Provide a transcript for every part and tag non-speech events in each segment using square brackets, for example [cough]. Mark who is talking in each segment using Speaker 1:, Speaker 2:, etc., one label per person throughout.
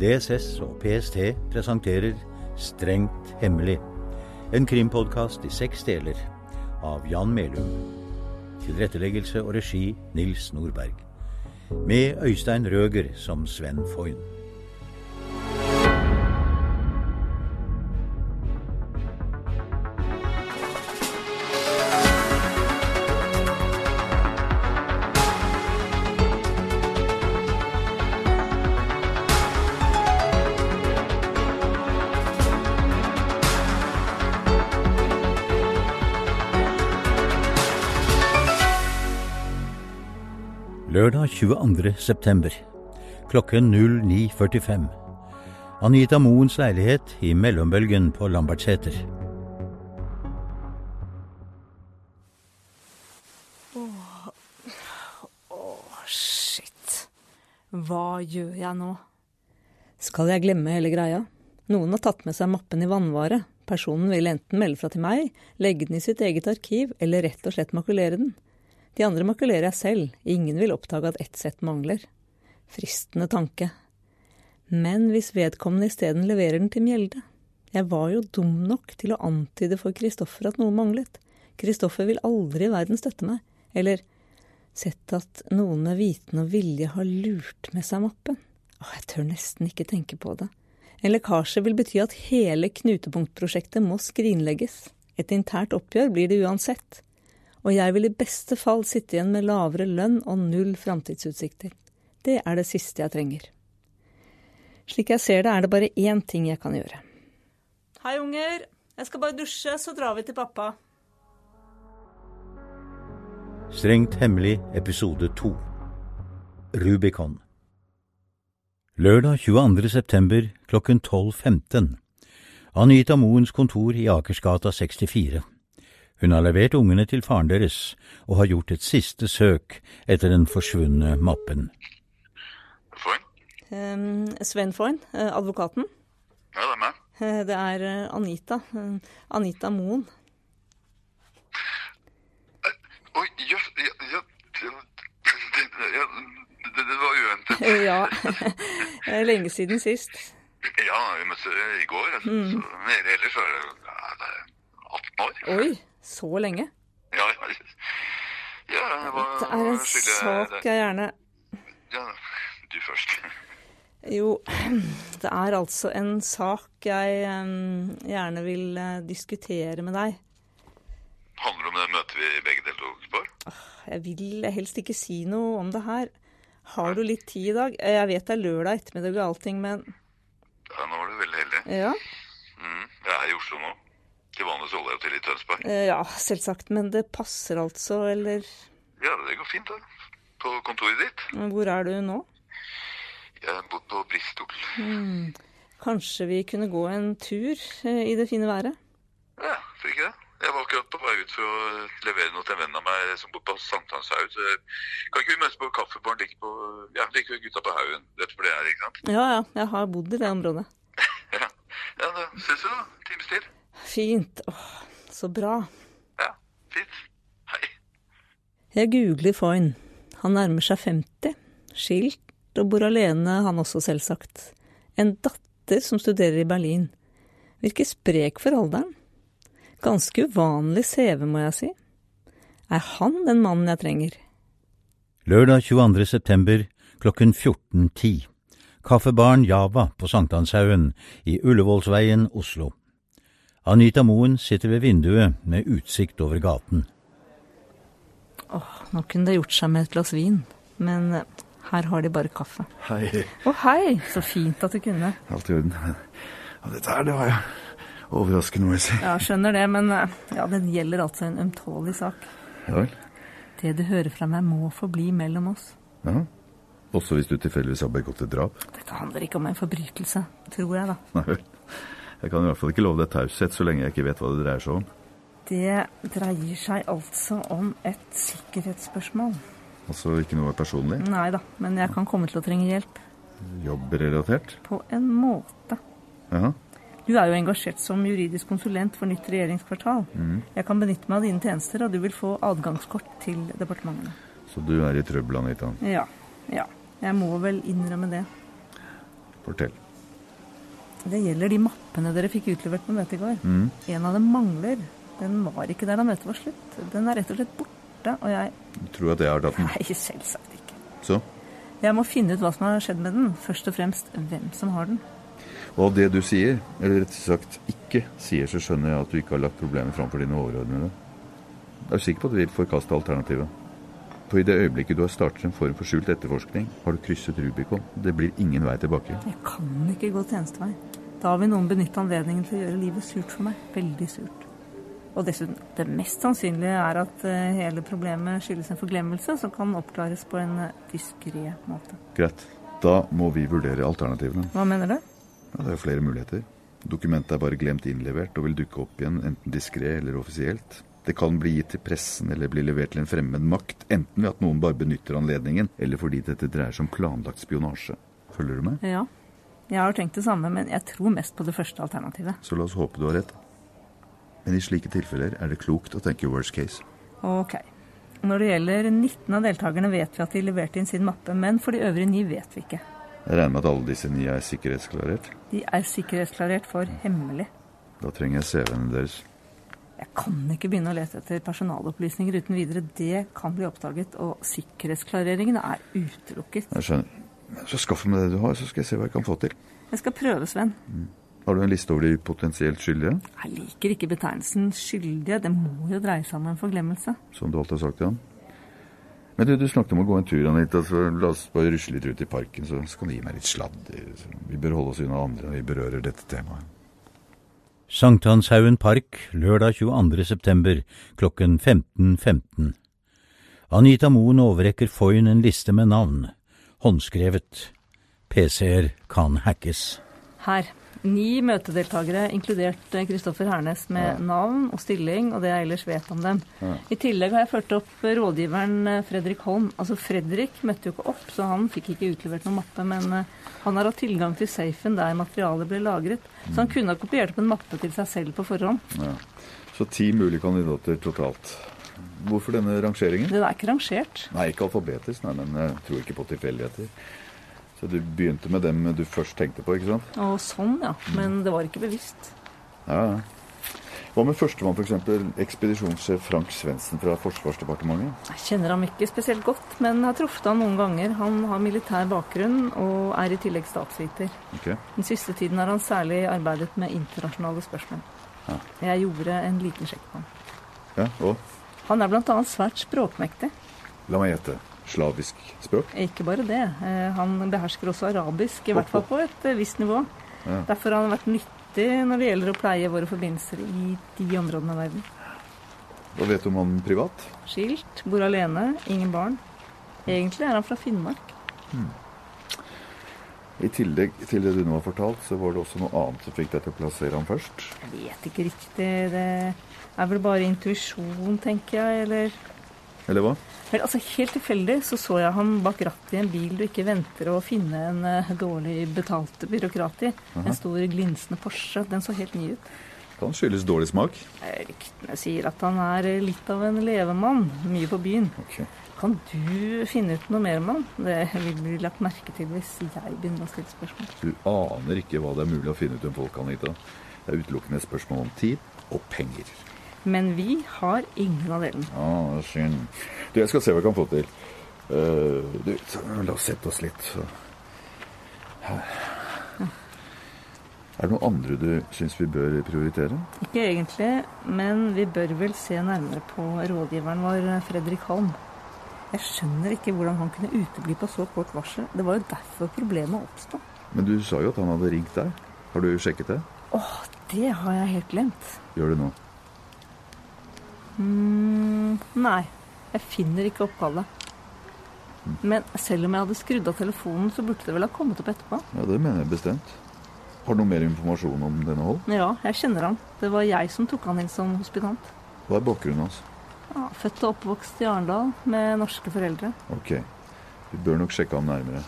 Speaker 1: DSS og PST presenterer Strengt hemmelig. En krimpodkast i seks deler av Jan Melum. Tilretteleggelse og regi Nils Nordberg. Med Øystein Røger som Sven Foyn. Lørdag 22. september. Klokken 09.45. Anita Moens leilighet i mellombølgen på Lambertseter.
Speaker 2: Shit. Hva gjør jeg nå?
Speaker 3: Skal jeg glemme hele greia? Noen har tatt med seg mappen i vannvare. Personen vil enten melde fra til meg, legge den i sitt eget arkiv, eller rett og slett makulere den. De andre makulerer jeg selv, ingen vil oppdage at ett sett mangler. Fristende tanke. Men hvis vedkommende isteden leverer den til Mjelde? Jeg var jo dum nok til å antyde for Kristoffer at noe manglet. Kristoffer vil aldri i verden støtte meg. Eller sett at noen med viten og vilje har lurt med seg mappen. Åh, jeg tør nesten ikke tenke på det. En lekkasje vil bety at hele knutepunktprosjektet må skrinlegges. Et internt oppgjør blir det uansett. Og jeg vil i beste fall sitte igjen med lavere lønn og null framtidsutsikter. Det er det siste jeg trenger. Slik jeg ser det, er det bare én ting jeg kan gjøre.
Speaker 2: Hei, unger. Jeg skal bare dusje, så drar vi til pappa.
Speaker 1: Strengt hemmelig episode 2 Rubicon Lørdag 22. september klokken 12.15 Anita Moens kontor i Akersgata 64 Hun har levert ungene til faren deres og har gjort et siste søk etter den forsvunne mappen.
Speaker 4: Foyn?
Speaker 3: Ehm, Sven Foyn, eh, advokaten.
Speaker 4: Ja, det er meg.
Speaker 3: Eh, [laughs] Det er eh, Anita. eh, Anita Moen.
Speaker 4: Oi, jøss ja, ja, ja, det, ja, det, det var uventet.
Speaker 3: [laughs] Eh, Ja. Det er Eh, Lenge siden sist.
Speaker 4: Ja, vi møttes i går. Altså,
Speaker 3: Mm.
Speaker 4: så, men ellers var det, ja, det er 18 år.
Speaker 3: Oi, så lenge.
Speaker 4: [laughs] Ja, ja, ja, det var
Speaker 3: Det er en
Speaker 4: skyldig-
Speaker 3: sak
Speaker 4: det-
Speaker 3: jeg gjerne
Speaker 4: Ja, du først. [laughs]
Speaker 3: Jo, [clears throat] det er altså en sak jeg eh, gjerne vil eh, diskutere med deg.
Speaker 4: Handler det om det møtet vi begge deltok på?
Speaker 3: Jeg vil helst ikke si noe om det her. Har du litt tid i dag? Eh, Jeg vet det er lørdag ettermiddag og allting, men
Speaker 4: Ja, nå var du veldig heldig.
Speaker 3: Ja,
Speaker 4: Mm, jeg er i Oslo nå. Til vanlig så holder jeg jo til i Tønsberg.
Speaker 3: eh, ja selvsagt. Men det passer altså, eller
Speaker 4: Ja, det går fint da. På kontoret ditt.
Speaker 3: Hvor er du nå?
Speaker 4: Jeg har bodd på Bristol.
Speaker 3: Kanskje vi kunne gå en tur eh, i det fine været?
Speaker 4: Ja, hvorfor ikke det? Jeg var akkurat på vei ut for å levere noe til en venn av meg som bor på Sankthanshaug. så Kan ikke vi møtes på kaffebaren like, på, ja, like ved gutta på haugen? Vet du hvor det er, ikke sant?
Speaker 3: Ja ja, jeg har bodd i det området.
Speaker 4: Ja, ja da ses vi da. Times til.
Speaker 3: Fint. Åh, så bra.
Speaker 4: Ja, fint. Hei.
Speaker 3: Jeg googler Foyn. Han nærmer seg 50. Skilt og bor alene, han også selvsagt. En datter som studerer i Berlin. Virker sprek for alderen. Ganske uvanlig CV, må jeg si. Er han den mannen jeg trenger?
Speaker 1: Lørdag 22. september klokken 14.10. Kaffebaren Java på Sankthanshaugen i Ullevålsveien, Oslo. Anita Moen sitter ved vinduet med utsikt over gaten.
Speaker 3: Nå kunne det gjort seg med et glass vin, men eh, her har de bare kaffe.
Speaker 5: Hei.
Speaker 3: Å hei, så fint at du kunne.
Speaker 5: Alt i orden. Ja, dette her, det var jo overraskende, må jeg si.
Speaker 3: Ja, skjønner det, men eh, ja, den gjelder altså en ømtålig sak.
Speaker 5: Ja vel.
Speaker 3: Det du hører fra meg må forbli mellom oss.
Speaker 5: Ja. Også hvis du tilfeldigvis har begått et drap?
Speaker 3: Dette handler ikke om en forbrytelse, tror jeg, da.
Speaker 5: Nei vel. Jeg kan i hvert fall ikke love deg taushet så lenge jeg ikke vet hva det dreier seg om.
Speaker 3: Det dreier seg altså om et sikkerhetsspørsmål.
Speaker 5: Altså ikke noe personlig?
Speaker 3: Nei da, men jeg kan komme til å trenge hjelp.
Speaker 5: Jobbrelatert?
Speaker 3: På en måte.
Speaker 5: Ja.
Speaker 3: Du er jo engasjert som juridisk konsulent for nytt regjeringskvartal. Jeg kan benytte meg av dine tjenester, og du vil få adgangskort til departementene.
Speaker 5: Så du er i trøbbel, Anita.
Speaker 3: Ja. Ja. Jeg må vel innrømme det.
Speaker 5: Fortell.
Speaker 3: Det gjelder de mappene dere fikk utlevert på møtet i går. En av dem mangler. Den var ikke der da møtet var slutt. Den er rett og slett borte, og jeg
Speaker 5: Du tror at jeg har tatt den.
Speaker 3: Nei, selvsagt ikke.
Speaker 5: Så.
Speaker 3: Jeg må finne ut hva som har skjedd med den. Først og fremst hvem som har den.
Speaker 5: Og det du sier, eller rett sagt ikke sier, så skjønner jeg at du ikke har lagt problemet framfor dine overordnede. Jeg er sikker på at du vil forkaste alternativet. For i det øyeblikket du har startet en form for skjult etterforskning, har du krysset Rubicon. Det blir ingen vei tilbake.
Speaker 3: Jeg kan ikke gå tjenestevei. Da vil noen benytte anledningen til å gjøre livet surt for meg. Veldig surt. Og dessuten, det mest sannsynlige er at eh, hele problemet skyldes en forglemmelse som kan oppklares på en diskré måte.
Speaker 5: Greit. Da må vi vurdere alternativene.
Speaker 3: Hva mener du?
Speaker 5: Ja, det er jo flere muligheter. Dokumentet er bare glemt innlevert og vil dukke opp igjen enten diskré eller offisielt. Det kan bli gitt til pressen eller bli levert til en fremmed makt, enten ved at noen bare benytter anledningen, eller fordi dette dreier seg om planlagt spionasje. Følger du med?
Speaker 3: Ja. Jeg har tenkt det samme, men jeg tror mest på det første alternativet.
Speaker 5: Så la oss håpe du har rett. Men i slike tilfeller er det klokt å tenke worst case.
Speaker 3: Ok. Når det gjelder 19 av deltakerne, vet vi at de leverte inn sin mappe, men for de øvrige ni vet vi ikke.
Speaker 5: Jeg regner med at alle disse ni er sikkerhetsklarert.
Speaker 3: De er sikkerhetsklarert for hemmelig.
Speaker 5: Da trenger jeg CV-ene deres.
Speaker 3: Jeg kan ikke begynne å lete etter personalopplysninger uten videre. Det kan bli oppdaget, og sikkerhetsklareringene er utelukket.
Speaker 5: Jeg skjønner. Så skaff meg det du har, så skal jeg se hva jeg kan få til.
Speaker 3: Jeg skal prøve, Sven.
Speaker 5: Har du en liste over de potensielt skyldige?
Speaker 3: Jeg liker ikke betegnelsen skyldige. Det må jo dreie seg om en forglemmelse.
Speaker 5: Som du alltid har sagt til ham? Men du, du snakket om å gå en tur, Anita, så la oss bare rusle litt ut i parken, så skal du gi meg litt sladder. Så Vi bør holde oss unna andre når vi berører dette temaet.
Speaker 1: Sankthanshaugen Park lørdag 22. september klokken 15.15. Anita Moen overrekker Foyn en liste med navn. Håndskrevet. PC-er kan hackes.
Speaker 3: Her. Ni møtedeltakere, inkludert eh, Kristoffer Hernes, med navn og stilling og det jeg ellers vet om dem. I tillegg har jeg ført opp eh, rådgiveren eh, Fredrik Holm. Altså Fredrik møtte jo ikke opp, så han fikk ikke utlevert noen mappe, men eh, han har hatt tilgang til safen der materialet ble lagret. Så han kunne ha kopiert opp en mappe til seg selv på forhånd.
Speaker 5: Så ti mulige kandidater totalt. Hvorfor denne rangeringen?
Speaker 3: Den er ikke rangert.
Speaker 5: Nei, ikke alfabetisk, nei, men jeg tror ikke på tilfeldigheter. Så du begynte med dem du først tenkte på, ikke sant?
Speaker 3: Og sånn, ja. Men det var ikke bevisst.
Speaker 5: Ja, ja. Hva med førstemann, f.eks. ekspedisjonssjef Frank Svendsen fra Forsvarsdepartementet?
Speaker 3: Jeg kjenner ham ikke spesielt godt, men har truffet ham noen ganger. Han har militær bakgrunn og er i tillegg statsviter.
Speaker 5: Ok.
Speaker 3: Den siste tiden har han særlig arbeidet med internasjonale spørsmål. Jeg gjorde en liten sjekk på ham.
Speaker 5: Ja, og?
Speaker 3: Han er bl.a. svært språkmektig.
Speaker 5: La meg gjette. Slavisk språk?
Speaker 3: Ikke bare det. eh, Han behersker også arabisk, i hvert fall på et eh, visst nivå. Derfor har han vært nyttig når det gjelder å pleie våre forbindelser i de områdene av verden.
Speaker 5: Hva vet du om han privat?
Speaker 3: Skilt, bor alene, ingen barn. Egentlig er han fra Finnmark.
Speaker 5: I tillegg til det du nå har fortalt, så var det også noe annet som fikk deg til å plassere ham først.
Speaker 3: Jeg vet ikke riktig. Det er vel bare intuisjon, tenker jeg, eller
Speaker 5: Eller hva?
Speaker 3: Vel, altså Helt tilfeldig så så jeg ham bak rattet i en bil du ikke venter å finne en eh, dårlig betalt byråkrat i. En stor glinsende Porsche. Den så helt ny ut.
Speaker 5: Kan skyldes dårlig smak.
Speaker 3: Eh, Ryktene sier at han er eh, litt av en levemann. Mye på byen.
Speaker 5: Ok.
Speaker 3: Kan du finne ut noe mer om han? Det vil bli lagt merke til hvis jeg begynner å stille spørsmål.
Speaker 5: Du aner ikke hva det er mulig å finne ut om folk, Anita. Det er utelukkende et spørsmål om tid og penger.
Speaker 3: Men vi har ingen av delene.
Speaker 5: Ja, synd. Du, jeg skal se hva jeg kan få til. Eh, du, så, la oss sette oss litt. Så. Er det noe andre du syns vi bør prioritere?
Speaker 3: Ikke egentlig, men vi bør vel se nærmere på rådgiveren vår, Fredrik Holm. Jeg skjønner ikke hvordan han kunne utebli på så kort varsel. Det var jo derfor problemet oppsto.
Speaker 5: Men du sa jo at han hadde ringt deg. Har du sjekket det?
Speaker 3: Åh, det har jeg helt glemt.
Speaker 5: Gjør det nå.
Speaker 3: Mm, nei, jeg finner ikke oppkallet. Men selv om jeg hadde skrudd av telefonen, så burde det vel ha kommet opp etterpå?
Speaker 5: Ja, det mener jeg bestemt. Har du noe mer informasjon om denne Holm?
Speaker 3: Ja, jeg kjenner han. Det var jeg som tok han inn som hospitant.
Speaker 5: Hva er bakgrunnen hans?
Speaker 3: Ja, født og oppvokst i Arendal med norske foreldre.
Speaker 5: Ok, vi bør nok sjekke ham nærmere.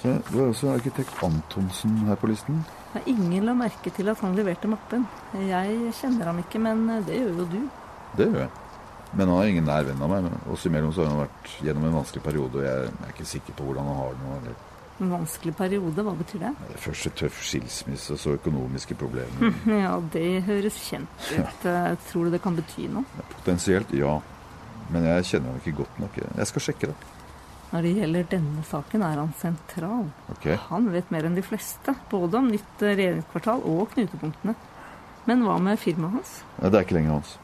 Speaker 5: Så Du har også arkitekt Antonsen her på listen.
Speaker 3: Nei, Ingen la merke til at han leverte mappen. Jeg kjenner ham ikke, men eh, det gjør jo du.
Speaker 5: Det gjør jeg. Men han er ingen nær venn av meg. men Oss imellom så har han vært gjennom en vanskelig periode, og jeg er ikke sikker på hvordan han har det nå. Eller
Speaker 3: En vanskelig periode, hva betyr det? [laughs]
Speaker 5: Først en tøff skilsmisse, så økonomiske problemer.
Speaker 3: Ja, det høres kjent ut. Eh, Tror du det kan bety noe?
Speaker 5: Potensielt ja, men jeg kjenner ham ikke godt nok. Jeg skal sjekke det.
Speaker 3: Når det gjelder denne saken, er han sentral.
Speaker 5: Ok.
Speaker 3: Han vet mer enn de fleste, både om nytt eh, regjeringskvartal og knutepunktene. Men hva med firmaet hans?
Speaker 5: Nei, Det er ikke lenger hans.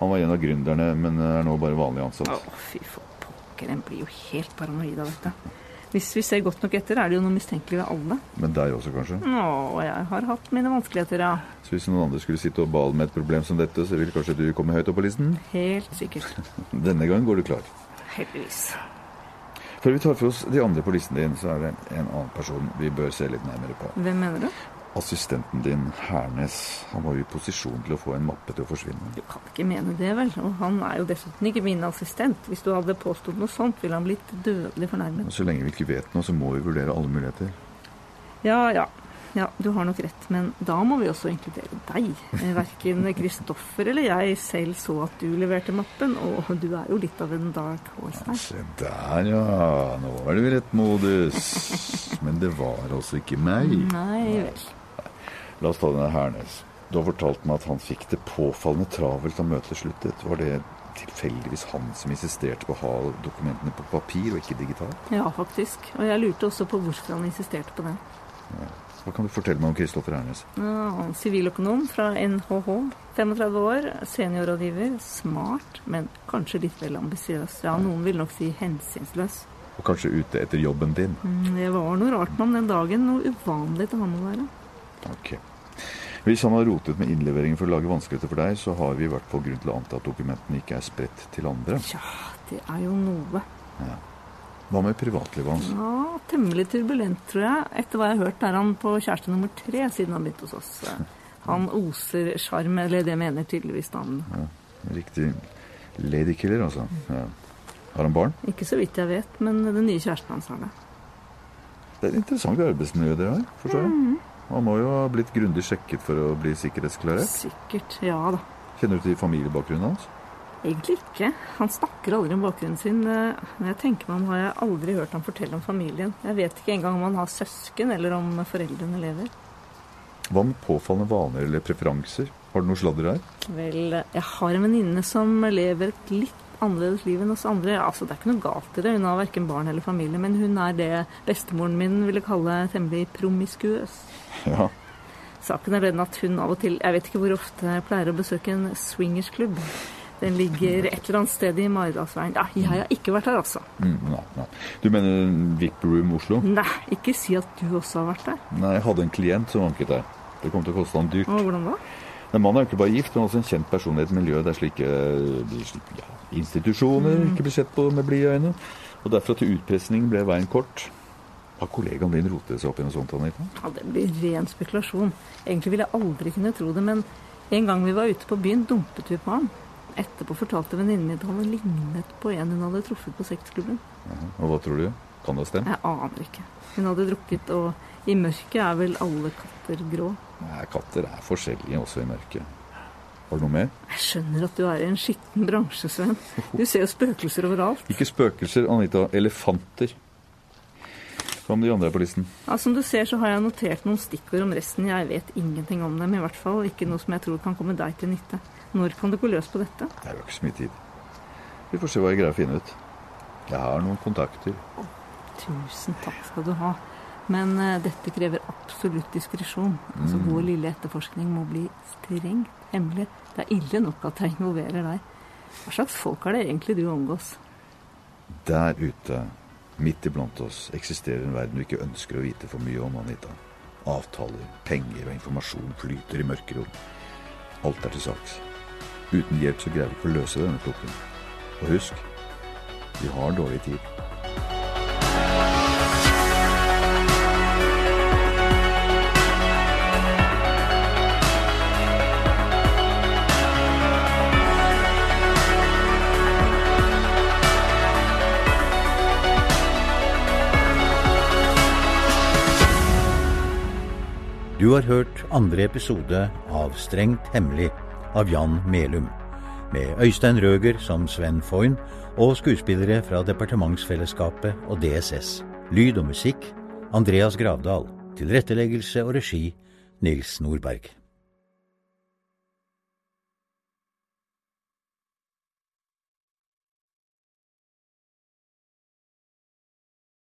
Speaker 5: Han var en av gründerne, men er nå bare vanlig
Speaker 3: Å,
Speaker 5: ansatt.
Speaker 3: fy for pokker, en blir jo helt paranoid av dette. Hvis vi ser godt nok etter, er det jo noe mistenkelig ved alle.
Speaker 5: Men deg også, kanskje?
Speaker 3: Nå, jeg har hatt mine vanskeligheter, ja.
Speaker 5: Så hvis noen andre skulle sitte og bale med et problem som dette, så vil kanskje du komme høyt opp på listen?
Speaker 3: Helt sikkert.
Speaker 5: Denne gang går du klar.
Speaker 3: Heldigvis.
Speaker 5: Før vi tar for oss de andre på listen din, så er det en annen person vi bør se litt nærmere på.
Speaker 3: Hvem mener du?
Speaker 5: Assistenten din, Hernes, han var jo i posisjon til å få en mappe til å forsvinne.
Speaker 3: Du kan ikke mene det, vel? Og han er jo dessuten ikke min assistent. Hvis du hadde påstått noe sånt, ville han blitt dødelig fornærmet.
Speaker 5: Og så lenge vi ikke vet noe, så må vi vurdere alle muligheter.
Speaker 3: Ja, ja. Ja, du har nok rett, men da må vi også inkludere deg. Eh, Verken Kristoffer eller jeg selv så at du leverte mappen, og du er jo litt av en dark horse her.
Speaker 5: Se der, ja. Nå er du i rett modus. Men det var altså ikke meg.
Speaker 3: Nei vel.
Speaker 5: La oss ta denne Hernes. Du har fortalt meg at han fikk det påfallende travelt da møtet sluttet. Var det tilfeldigvis han som insisterte på å ha dokumentene på papir og ikke digitalt?
Speaker 3: Ja, faktisk. Og jeg lurte også på hvorfor han insisterte på det.
Speaker 5: Hva kan du fortelle meg om Kristoffer Hernes?
Speaker 3: Ja, han er Siviløkonom fra NHH, 35 år, seniorrådgiver, smart, men kanskje litt vel ambisiøs. Ja, noen vil nok si hensynsløs.
Speaker 5: Og kanskje ute etter jobben din?
Speaker 3: Mm, Det var noe rart med ham den dagen, noe uvanlig til han å være.
Speaker 5: Ok. Hvis han har rotet med innleveringen for å lage vanskeligheter for deg, så har vi i hvert fall grunn til å anta at dokumentene ikke er spredt til andre.
Speaker 3: Tja, det er jo noe.
Speaker 5: Hva med privatlivet hans?
Speaker 3: Ja, temmelig turbulent, tror jeg. Etter hva jeg har hørt, er han på kjæreste nummer tre siden han begynte hos oss. Han oser sjarm, eller det mener tydeligvis navnet.
Speaker 5: Riktig ladykiller, altså. Ja. Har han barn?
Speaker 3: Ikke så vidt jeg vet, men den nye kjæresten hans har det.
Speaker 5: Det er et interessant arbeidsmiljø dere har, forstår jeg. Han må jo ha blitt grundig sjekket for å bli sikkerhetsklarert.
Speaker 3: Sikkert. Ja da.
Speaker 5: Kjenner du til familiebakgrunnen hans?
Speaker 3: Egentlig ikke. Han snakker aldri om bakgrunnen sin. Eh, Når jeg tenker meg om, har jeg aldri hørt ham fortelle om familien. Jeg vet ikke engang om han har søsken, eller om foreldrene lever.
Speaker 5: Hva med påfallende vaner eller preferanser? Har du noe sladder her?
Speaker 3: Vel, jeg har en venninne som lever et litt annerledes liv enn oss andre. Altså, det er ikke noe galt i det. Hun har verken barn eller familie, men hun er det bestemoren min ville kalle temmelig promiskuøs.
Speaker 5: Ja.
Speaker 3: Saken er den at hun av og til, jeg vet ikke hvor ofte, pleier å besøke en swingersklubb. Den ligger et eller annet sted i Maridalsveien. Ja, jeg har ikke vært der, altså.
Speaker 5: Mm, nei, nei. Du mener VIP Room Oslo?
Speaker 3: Nei, ikke si at du også har vært der.
Speaker 5: Nei, jeg hadde en klient som vanket der. Det kom til å koste han dyrt.
Speaker 3: Og hvordan da?
Speaker 5: Men mannen er jo ikke bare gift, men også en kjent person i et miljø der slike, de slike ja, institusjoner ikke blir sett på med blide øyne. Og derfra til utpressing ble veien kort. Har kollegaen din rotet seg opp i noe sånt, Anita?
Speaker 3: Ja, det blir ren spekulasjon. Egentlig ville jeg aldri kunne tro det, men en gang vi var ute på byen, dumpet vi på ham. Etterpå fortalte venninnen min at han lignet på en hun hadde truffet på sexklubben.
Speaker 5: Og hva tror du? Kan det ha stemt?
Speaker 3: Jeg aner ikke. Hun hadde drukket, og i mørket er vel alle katter grå.
Speaker 5: Nei, katter er forskjellige også i mørket. Har du noe mer?
Speaker 3: Jeg skjønner at du er i en skitten bransje, Sven. Du ser jo spøkelser overalt.
Speaker 5: Ikke spøkelser, Anita. Elefanter. Hva med de andre på listen?
Speaker 3: Ja, som du ser, så har jeg notert noen stikkord om resten. Jeg vet ingenting om dem, i hvert fall. Ikke noe som jeg tror kan komme deg til nytte. Når kan du gå løs på dette?
Speaker 5: Det er jo ikke så mye tid. Vi får se hva jeg greier å finne ut. Jeg har noen kontakter.
Speaker 3: Tusen takk skal du ha. Men eh, dette krever absolutt diskresjon. Altså, vår lille etterforskning må bli strengt hemmelig. Det er ille nok at jeg involverer deg. Hva slags folk er det egentlig du omgås?
Speaker 5: Der ute, midt iblant oss, eksisterer en verden du ikke ønsker å vite for mye om, Anita. Avtaler, penger og informasjon flyter i mørke rom. Alt er til saks. Uten hjelp så greier vi ikke å løse denne plukken. Og husk, vi har dårlig tid.
Speaker 1: Du har hørt andre episode av Strengt hemmelig av Jan Melum, med Øystein Røger som Sven Foyn og skuespillere fra Departementsfellesskapet og DSS. Lyd og musikk Andreas Gravdal. Tilretteleggelse og regi Nils Nordberg.